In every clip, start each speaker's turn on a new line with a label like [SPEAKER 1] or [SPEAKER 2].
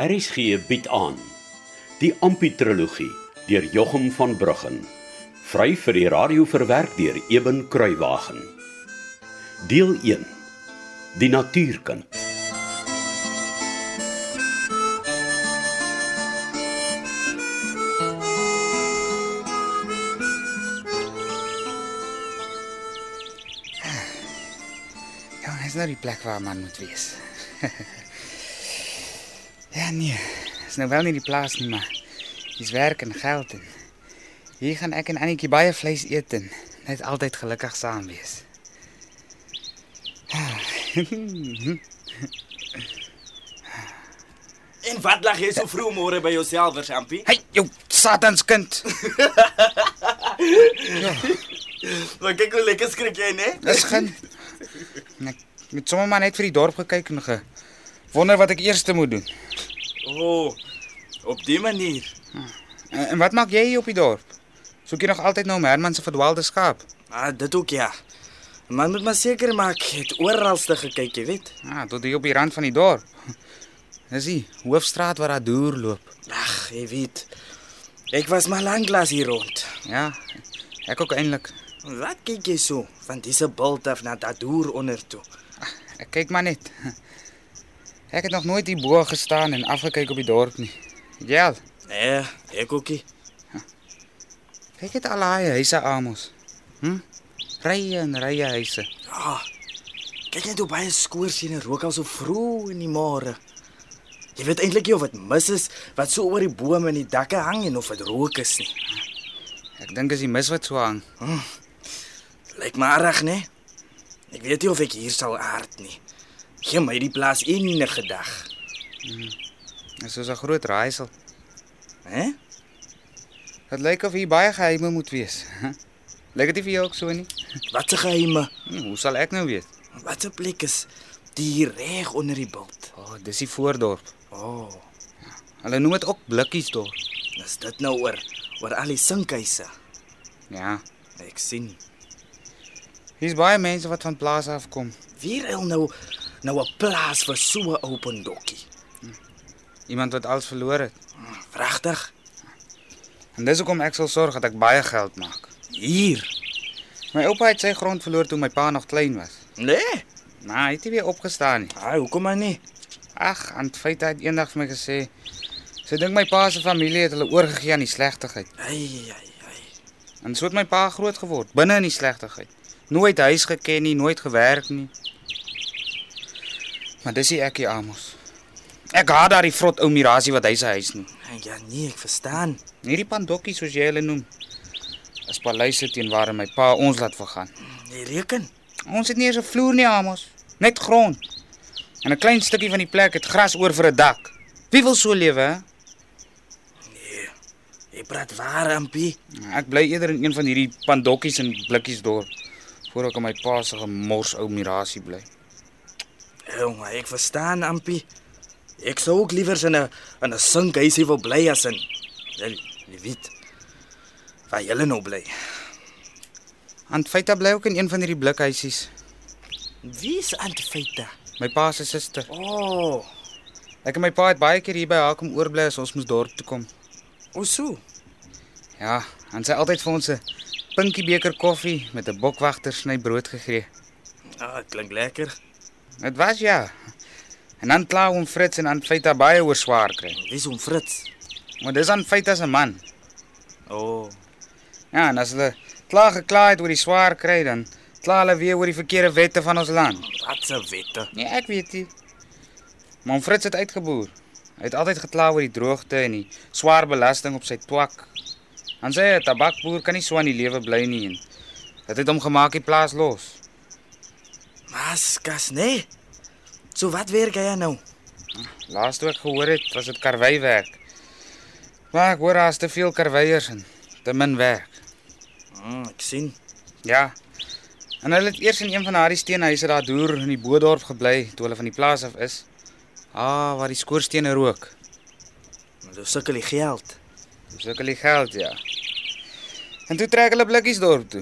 [SPEAKER 1] RSG bied aan die Amputrologie deur Jochum van Bruggen vry vir die radio verwerk deur Eben Kruiwagen Deel 1 Die natuurkind
[SPEAKER 2] Ja, dis nou die plek waar 'n man moet wees. ja nee, dis nou wel nie die plaas nie, maar dis werk en geld en hier gaan ek en Annetjie baie vleis eet en net altyd gelukkig saam wees.
[SPEAKER 3] En wat lag jy so vroeg môre by jouself, Champie?
[SPEAKER 2] Hey, jou satanskind.
[SPEAKER 3] Maar kyk hoe lekker skrik jy, né?
[SPEAKER 2] Dis gaan. En Ek het sommer maar net vir die dorp gekyk en ge wonder wat ek eers moet doen.
[SPEAKER 3] O, oh, op die manier.
[SPEAKER 2] Eh, En, en wat maak jy hier op die dorp? Soek jy nog altyd na nou Herman se verdwaalde skaap?
[SPEAKER 3] Ah, dit ook ja. 'n Man moet maar seker maak jy het oralste gekyk, jy weet.
[SPEAKER 2] Ah, tot hier op die rand van die dorp. Dis die hoofstraat waar daar deur loop.
[SPEAKER 3] Ag, jy weet. Ek was maar lanklaas hier rond.
[SPEAKER 2] Ja, ek ook eintlik.
[SPEAKER 3] Wat kyk jy so? Van disse bult af na dadoor onder toe.
[SPEAKER 2] Ek kyk maar net. Ek het nog nooit hier bo gestaan en afgekyk op die dorp nie. Ja,
[SPEAKER 3] Nee, ek ookie.
[SPEAKER 2] kyk dit al daai huise Amos. Hm? Rye en rye huise.
[SPEAKER 3] Ja. Kyk net hoe baie skoors en rook al so vroeg in die môre. Jy weet eintlik nie of dit mis is wat so oor die bome en die dakke hang en of dit rook is nie.
[SPEAKER 2] Ek dink is die mis wat so hang.
[SPEAKER 3] Lyk maar reg, né? Ek weet nie of ek hier sal aard nie. Gee my die plaas enige dag,
[SPEAKER 2] Dit is soos 'n groot raaisel.
[SPEAKER 3] hè?
[SPEAKER 2] Dit lyk of hier baie geheime moet wees. Hm? Lyk dit nie vir jou ook so nie?
[SPEAKER 3] Wat se geheime?
[SPEAKER 2] Hm, hoe sal ek nou weet?
[SPEAKER 3] Wat 'n plek is die reg onder die bult.
[SPEAKER 2] O, oh, dis die voordorp.
[SPEAKER 3] O, oh,
[SPEAKER 2] Hulle noem dit ook blikkiesdorp.
[SPEAKER 3] is dit nou oor oor al die sinkhuise?
[SPEAKER 2] Ja.
[SPEAKER 3] Ek sien.
[SPEAKER 2] Hier's baie mense wat van plaas af kom.
[SPEAKER 3] Wie wil nou nou 'n plaas vir so 'n open dokkie? Hm,
[SPEAKER 2] Iemand wat alles verloor het.
[SPEAKER 3] Pragtig.
[SPEAKER 2] En dis hoekom ek sal sorg dat ek baie geld maak.
[SPEAKER 3] Hier.
[SPEAKER 2] My oupa het sy grond verloor toe my pa nog klein was.
[SPEAKER 3] Nee.
[SPEAKER 2] Maar hy het nie weer opgestaan nie.
[SPEAKER 3] Ah, hoekom maar nie?
[SPEAKER 2] Ag, aan feite het eendag vir my gesê, sy dink my pa se familie het hulle oorgegee aan die slegtigheid.
[SPEAKER 3] Ai, ai, ai.
[SPEAKER 2] En so het my pa groot geword, binne in die slegtigheid. Nooit huis geken nie, nooit gewerk nie. Maar dis hier ekkie Amos. Ek haat daardie vrot ou mirasie wat hy sy huis noem.
[SPEAKER 3] Ja nee, ek verstaan.
[SPEAKER 2] Hierdie pandokkie soos jy hulle noem, is paleise teen waar my pa ons laat vergaan.
[SPEAKER 3] Jy Hm, reken.
[SPEAKER 2] Ons het nie eens 'n vloer nie, Amos, net grond. En 'n klein stukkie van die plek het gras oor vir 'n dak. Wie wil so lewe? hè?
[SPEAKER 3] Nee. Jy praat waar, Ampie.
[SPEAKER 2] Ek bly eerder in een van hierdie pandokkies en blikkies dorp voor ek aan my pa se gemors ou mirasie bly.
[SPEAKER 3] Jong, maar ek verstaan Ampie. Ek sou ook liewer in 'n in 'n sinkhuisie wil bly as in jy, jy weet waar jy nou bly.
[SPEAKER 2] Aan feite bly ook in een van hierdie blikhuisies.
[SPEAKER 3] Wie is Antfeita?
[SPEAKER 2] My pa se suster.
[SPEAKER 3] O, oh,
[SPEAKER 2] Ek en my pa het baie keer hier by haar kom oorbly as ons moes dorp toe kom.
[SPEAKER 3] Osu.
[SPEAKER 2] Ja, en sy het altyd vir ons 'n pinkie beker koffie met 'n bokwagter sny brood gegee.
[SPEAKER 3] Ah, klink lekker.
[SPEAKER 2] Dit was ja. En dan kla hom Fritz en aan feite baie oor swaar kry.
[SPEAKER 3] Dis om Fritz.
[SPEAKER 2] Maar dis aan feit as 'n man.
[SPEAKER 3] O, oh,
[SPEAKER 2] Ja, en as hulle klaar gekla het oor die swaar kry dan kla hulle weer oor die verkeerde wette van ons land.
[SPEAKER 3] wat 'n wette.
[SPEAKER 2] Nee, ek weet nie. Maar om Frits het uitgeboer. Hy het altyd gekla oor die droogte en die swaar belasting op sy twak. Dan sê hy 'n tabakboer kan nie so aan die lewe bly nie en dit het hom gemaak die plaas los.
[SPEAKER 3] Maskas, nee. So wat werk jy aan nou?
[SPEAKER 2] Laas toe ek gehoor het, was dit karweiwerk. Maar ek hoor daar's te veel karweiers en te min werk.
[SPEAKER 3] Mm, ek sien.
[SPEAKER 2] Ja. En hulle het eers in een van daardie steenhuise daar deur in die Boedorp gebly toe hulle van die plaas af is. Ah, waar die skoorstene rook.
[SPEAKER 3] Hulle sukkel die geld.
[SPEAKER 2] Dis ook al die geld, ja. En toe trek hulle Blikkiesdorp toe.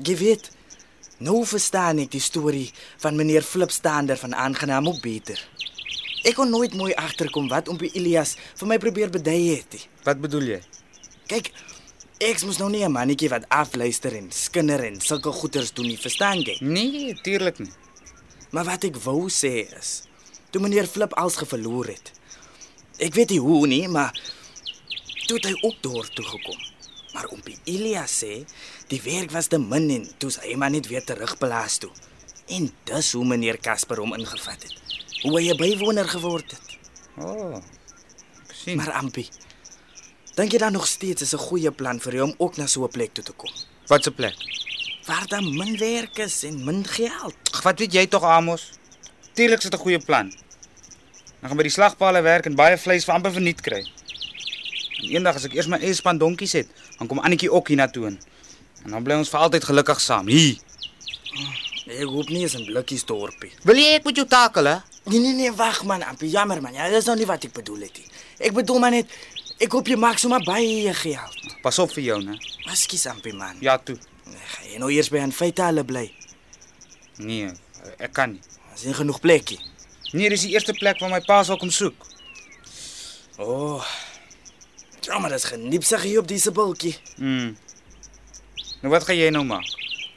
[SPEAKER 3] Jy weet, nou verstaan ek die storie van meneer Flipstander van aangenaam op beter. Ek kon nooit mooi agterkom wat ompie Elias vir my probeer bedui het. nie.
[SPEAKER 2] Wat bedoel jy?
[SPEAKER 3] Kyk, ek moes nog nie 'n mannetjie wat afluister en skinder en sulke goeters doen nie, verstaan jy?
[SPEAKER 2] Nee, tuurlik nie.
[SPEAKER 3] Maar wat ek wou sê is, toe meneer Flip als geverloor het. Ek weet nie hoe nie, maar toe het hy ook daar toe gekom. Maar ompie Elias sê die werk was te min en toe is hy maar net weer terugbelaas toe. En dis hoe meneer Casper hom ingevat het. Hoe hy 'n bywoner geword het.
[SPEAKER 2] O. Oh, ek sien.
[SPEAKER 3] Maar Ampi, dink jy dan nog steeds is 'n goeie plan vir jou om ook na so 'n plek toe te kom?
[SPEAKER 2] wat se plek?
[SPEAKER 3] Waar daar min werk is en min geld.
[SPEAKER 2] Ag, wat weet jy tog Amos? Tuurlik is dit 'n goeie plan. Dan gaan by die slagpale werk en baie vleis vir amper verniet kry. En eendag as ek eers my eie span donkies het, dan kom Annetjie ook hiernatoe in. En dan bly ons vir altyd gelukkig saam. Hier.
[SPEAKER 3] Ek hoop nie is 'n blikkies dorpie.
[SPEAKER 2] Wil jy ek moet jou takel hè?
[SPEAKER 3] Nee nee nee, wag man, Ampi, jammer man. Ja, dis nou nie wat ek bedoel het nie. Ek bedoel maar net ek hoop jy maak sommer baie geld.
[SPEAKER 2] Pas op vir jou, né?
[SPEAKER 3] Miskien Ampi man.
[SPEAKER 2] Ja, toe.
[SPEAKER 3] Ga jy nou eers by aan feite hulle bly?
[SPEAKER 2] Nee, ek kan nie.
[SPEAKER 3] Daar's nie genoeg plekkie.
[SPEAKER 2] Nee, dis die eerste plek waar my pa sal kom soek.
[SPEAKER 3] O. Oh. Ja, maar dis geniepsig hier op dise bultjie.
[SPEAKER 2] Mm. Nou wat gaan jy nou maak?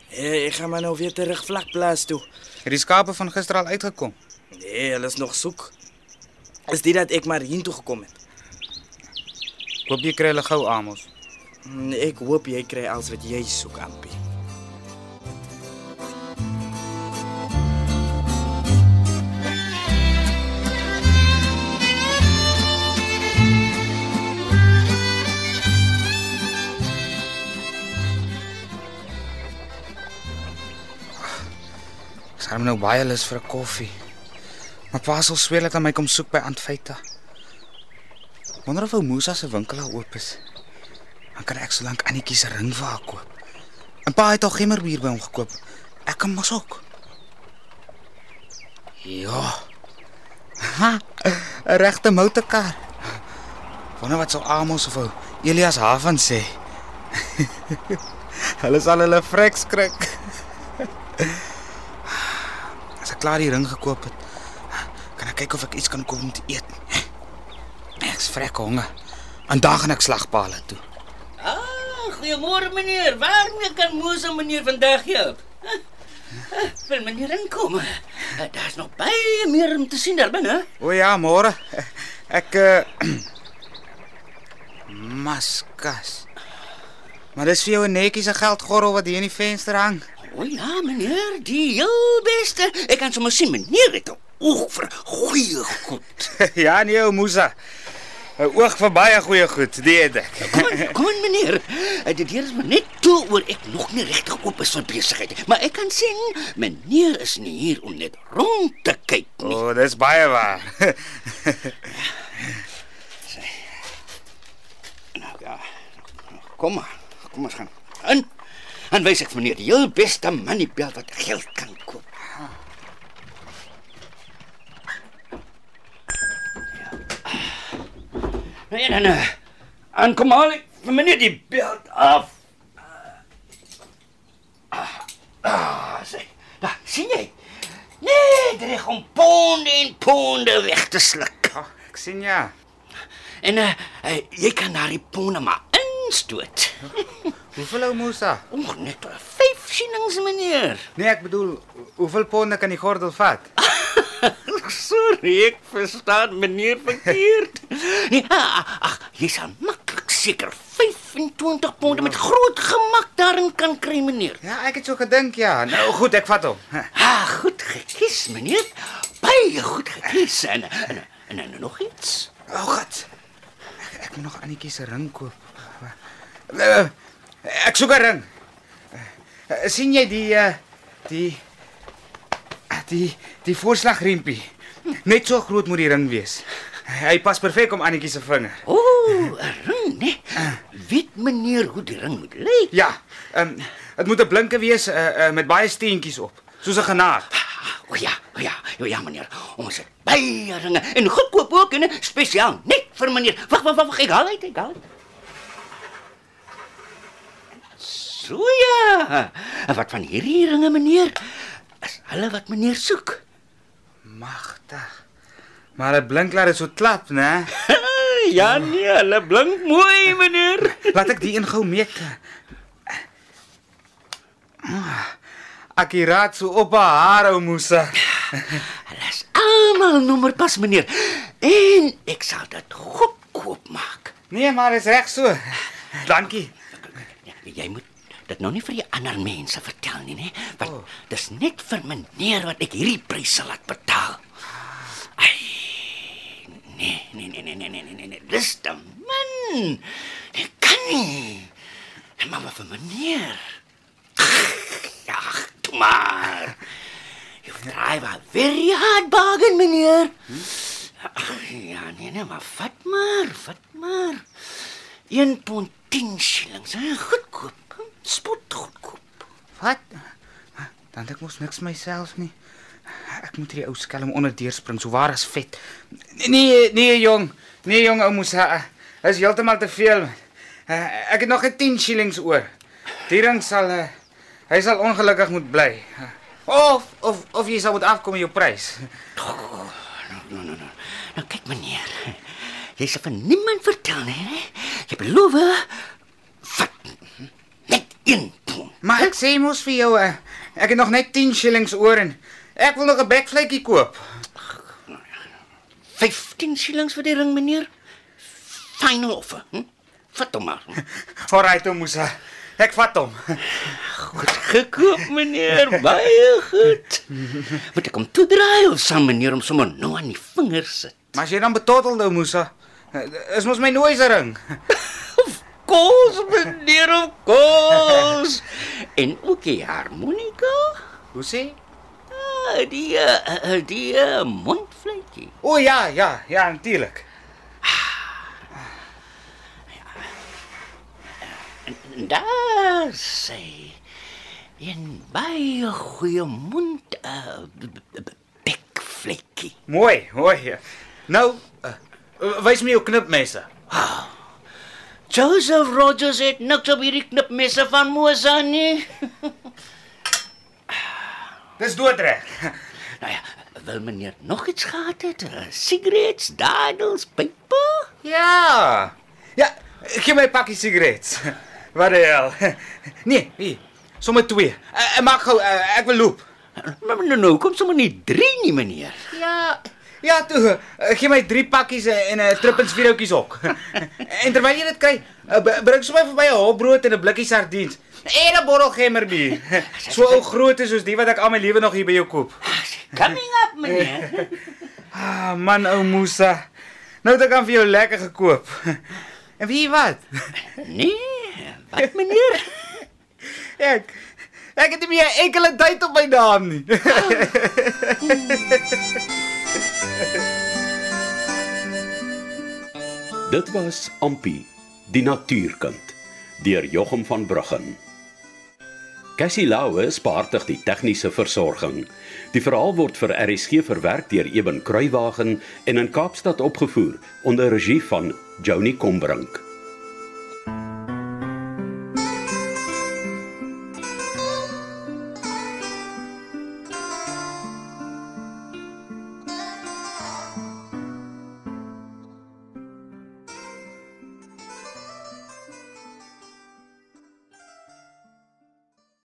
[SPEAKER 3] Hey, ek gaan maar nou weer terug vlak plaas toe.
[SPEAKER 2] Het die skape van gister al uitgekom?
[SPEAKER 3] Nee, hulle is nog soek. Is dit dat ek maar hiernatoe gekom het?
[SPEAKER 2] Ek Hoop jy kry hulle gou Amos.
[SPEAKER 3] Mm, Ek hoop jy kry alles wat jy soek, Ampie.
[SPEAKER 2] Ek sê nou baie lus vir 'n koffie. Maar pa sal sweer dat hy my kom soek by Antfeita. Wonder of ou Musa se winkel al oop is. Dan kan ek solank Annetjie se ring vir haar koop. En pa het al gemmerbier by hom gekoop. Ek kan mos ook. Ja. Ha, 'n regte motorkar. Wonder wat sou Amos of ou Elias Haven sê. hulle sal hulle freks krik. As ek klaar die ring gekoop het, kan ek kyk of ek iets kan koop om te eet. Ek's vrek honger. Vandag gaan ek slagpale toe.
[SPEAKER 4] Ah, goeiemôre meneer. Waarmee kan Moses meneer vandag help? Ah, ah, Wil meneer inkom? Ah, Daar's nog baie meer om te sien daar binne.
[SPEAKER 2] O ja, môre. Ek uh maskas. Maar dis vir jou 'n netjie se geldgorrel wat hier in die venster hang.
[SPEAKER 4] O ja, meneer, die heel beste. Ek kan sommer sien meneer het 'n oog vir goeie goed.
[SPEAKER 2] ja, nee, ou Musa. 'n Oog vir baie goeie goed, die het ek.
[SPEAKER 4] Kom in, kom in meneer. Eh, Die deur is maar net toe oor ek nog nie regtig oop is vir besigheid nie, maar ek kan sien meneer is nie hier om net rond te kyk nie.
[SPEAKER 2] O, oh, dis baie waar.
[SPEAKER 4] Nou ja. Kom maar. Kom ons gaan. In. En wys ek meneer die heel beste man die bel wat geld kan koop. Ja. Nee, dan. eh, En kom al ek vir meneer die bel af. Ah, ah, sê. Daar, sien jy? Nee, dit is om ponde en ponde weg te sluk.
[SPEAKER 2] oh, ek sien ja.
[SPEAKER 4] En uh, uh, jy kan na die ponde maar instoot.
[SPEAKER 2] Hoeveel ou Musa?
[SPEAKER 4] Oeg, net uh, vyf sienings meneer.
[SPEAKER 2] Nee, ek bedoel, hoeveel ponde kan die gordel vat?
[SPEAKER 4] Sorry, ek verstaan meneer verkeerd. nee, ag, ag, jy sal maklik seker 25 pond met groot gemak daarin kan kry meneer.
[SPEAKER 2] Ja, ek het so gedink ja. Nou goed, ek vat hom.
[SPEAKER 4] Ah, goed gekies meneer. Baie goed gekies Eh, en en, en, en nog iets.
[SPEAKER 2] O, oh, God. Ek moet nog Annetjie se ring koop. Eh, Ek soek 'n ring. Eh, sien jy die eh, die eh, die die voorslagriempie? Net so groot moet die ring wees. Hy pas perfek om Annetjie se vinger.
[SPEAKER 4] O, oh, 'n ring, né? Weet meneer hoe die ring moet lyk?
[SPEAKER 2] Ja, ehm um, dit moet 'n blinke wees uh, uh, met baie steentjies op, soos 'n genaag.
[SPEAKER 4] Ah, O ja, o ja, o ja meneer. Ons het baie ringe en goedkoop ook en spesiaal net vir meneer. Wag, wag, wag, wag, ek haal uit, ek haal. uit. So ja. En wat van hierdie ringe meneer? Is hulle wat meneer soek?
[SPEAKER 2] Magtig. Maar hy blink laat dit so klap, né?
[SPEAKER 4] Ja nee, hulle blink mooi, meneer.
[SPEAKER 2] Laat ek die een gou meet. Akiraat Ah, so op haar hare, Musa.
[SPEAKER 4] Hulle is almal nommer pas, meneer. En ek sal dit goedkoop maak.
[SPEAKER 2] Nee, maar is reg so. Dankie.
[SPEAKER 4] Ja, Jy moet dit nou nie vir die ander mense vertel nie, né? Want oh. dis net vir meneer wat ek hierdie prys sal laat betaal. Ai. Nee, nee, nee, nee, nee, nee, nee, nee, nee. Dis te min. Ek kan nie. En mamma vir meneer. Ja, toe maar. You drive a very hard bargain, meneer. Ja, nee, nee, maar vat maar, vat maar. 1 pond 10 shillings, hè? goedkoop. Spot goedkoop.
[SPEAKER 2] Wat? Dan dink ek mos niks myself nie. Ek moet hierdie ou skelm onder deurspring, so waar as vet. Nee, nee jong. Nee jong, ou Musa. Dis heeltemal te veel. Eh, Ek het nog net 10 shillings oor. Die ding sal eh, hy sal ongelukkig moet bly. Of of of jy sal moet afkom met jou prys.
[SPEAKER 4] Nou, nou, nou. Nou kyk meneer. Jy sal van niemand vertel nie, hè? Jy beloof? Vat net 1 pond.
[SPEAKER 2] Maar ek sê mos vir jou, eh, ek het nog net 10 shillings oor en ek wil nog 'n bekvletjie koop.
[SPEAKER 4] 15 shillings vir die ring, meneer. Final offer. Hm? Vat hom maar.
[SPEAKER 2] Alraai toe Musa. Ek vat hom.
[SPEAKER 4] Goed gekoop, meneer. Baie goed. Moet ek hom toedraai of sal meneer hom sommer nou aan die vingers sit?
[SPEAKER 2] Maar as jy dan betotel nou Musa, eh, is mos my nooi se ring.
[SPEAKER 4] Kos, meneer, of kos. en ook die harmonika.
[SPEAKER 2] Hoe sê?
[SPEAKER 4] Ah, die eh, eh, die eh, mondfluitjie.
[SPEAKER 2] O ja, ja, ja, natuurlik.
[SPEAKER 4] En Daar sê in baie goeie mond 'n uh, bekvlekkie.
[SPEAKER 2] Mooi, mooi. Nou, uh, wys my jou knipmesse.
[SPEAKER 4] Joseph Rogers het niks op hierdie knipmesse van Mosa nie.
[SPEAKER 2] Dis doodreg.
[SPEAKER 4] nou ja, wil meneer nog iets gehad het? Eh, Sigarets, dadels, pype?
[SPEAKER 2] Ja. Ja, gee my 'n pakkie sigarette. Wat die hel? Nee, hier. Sommige twee. Uh, maak gou, uh, ek wil loop.
[SPEAKER 4] Nou nou, nou kom sommer nie 3 nie, meneer.
[SPEAKER 2] Ja. Ja, toe. Uh, gee my 3 pakkies eh, en 'n uh, trippens vierhoutjies hok. en terwyl jy dit kry, uh, b- bring sommer vir my 'n hopbrood en 'n blikkie sardiens en 'n bottel gemmerbier. so ou groot is soos die wat ek al my lewe nog hier by jou koop.
[SPEAKER 4] Coming up, meneer.
[SPEAKER 2] Ah, man ou Musa. Nou het ek aan vir jou lekker gekoop. En weet jy wat?
[SPEAKER 4] nee, wat meneer?
[SPEAKER 2] Ek ek het nie meer 'n enkele tyd op my naam nie.
[SPEAKER 1] Dit was Ampi, die natuurkind, deur Jochum van Bruggen. Cassie Lauwe spaartig die tegniese versorging. Die verhaal word vir RSG verwerk deur Eben Kruiwagen en in Kaapstad opgevoer onder regie van Joni Combrink.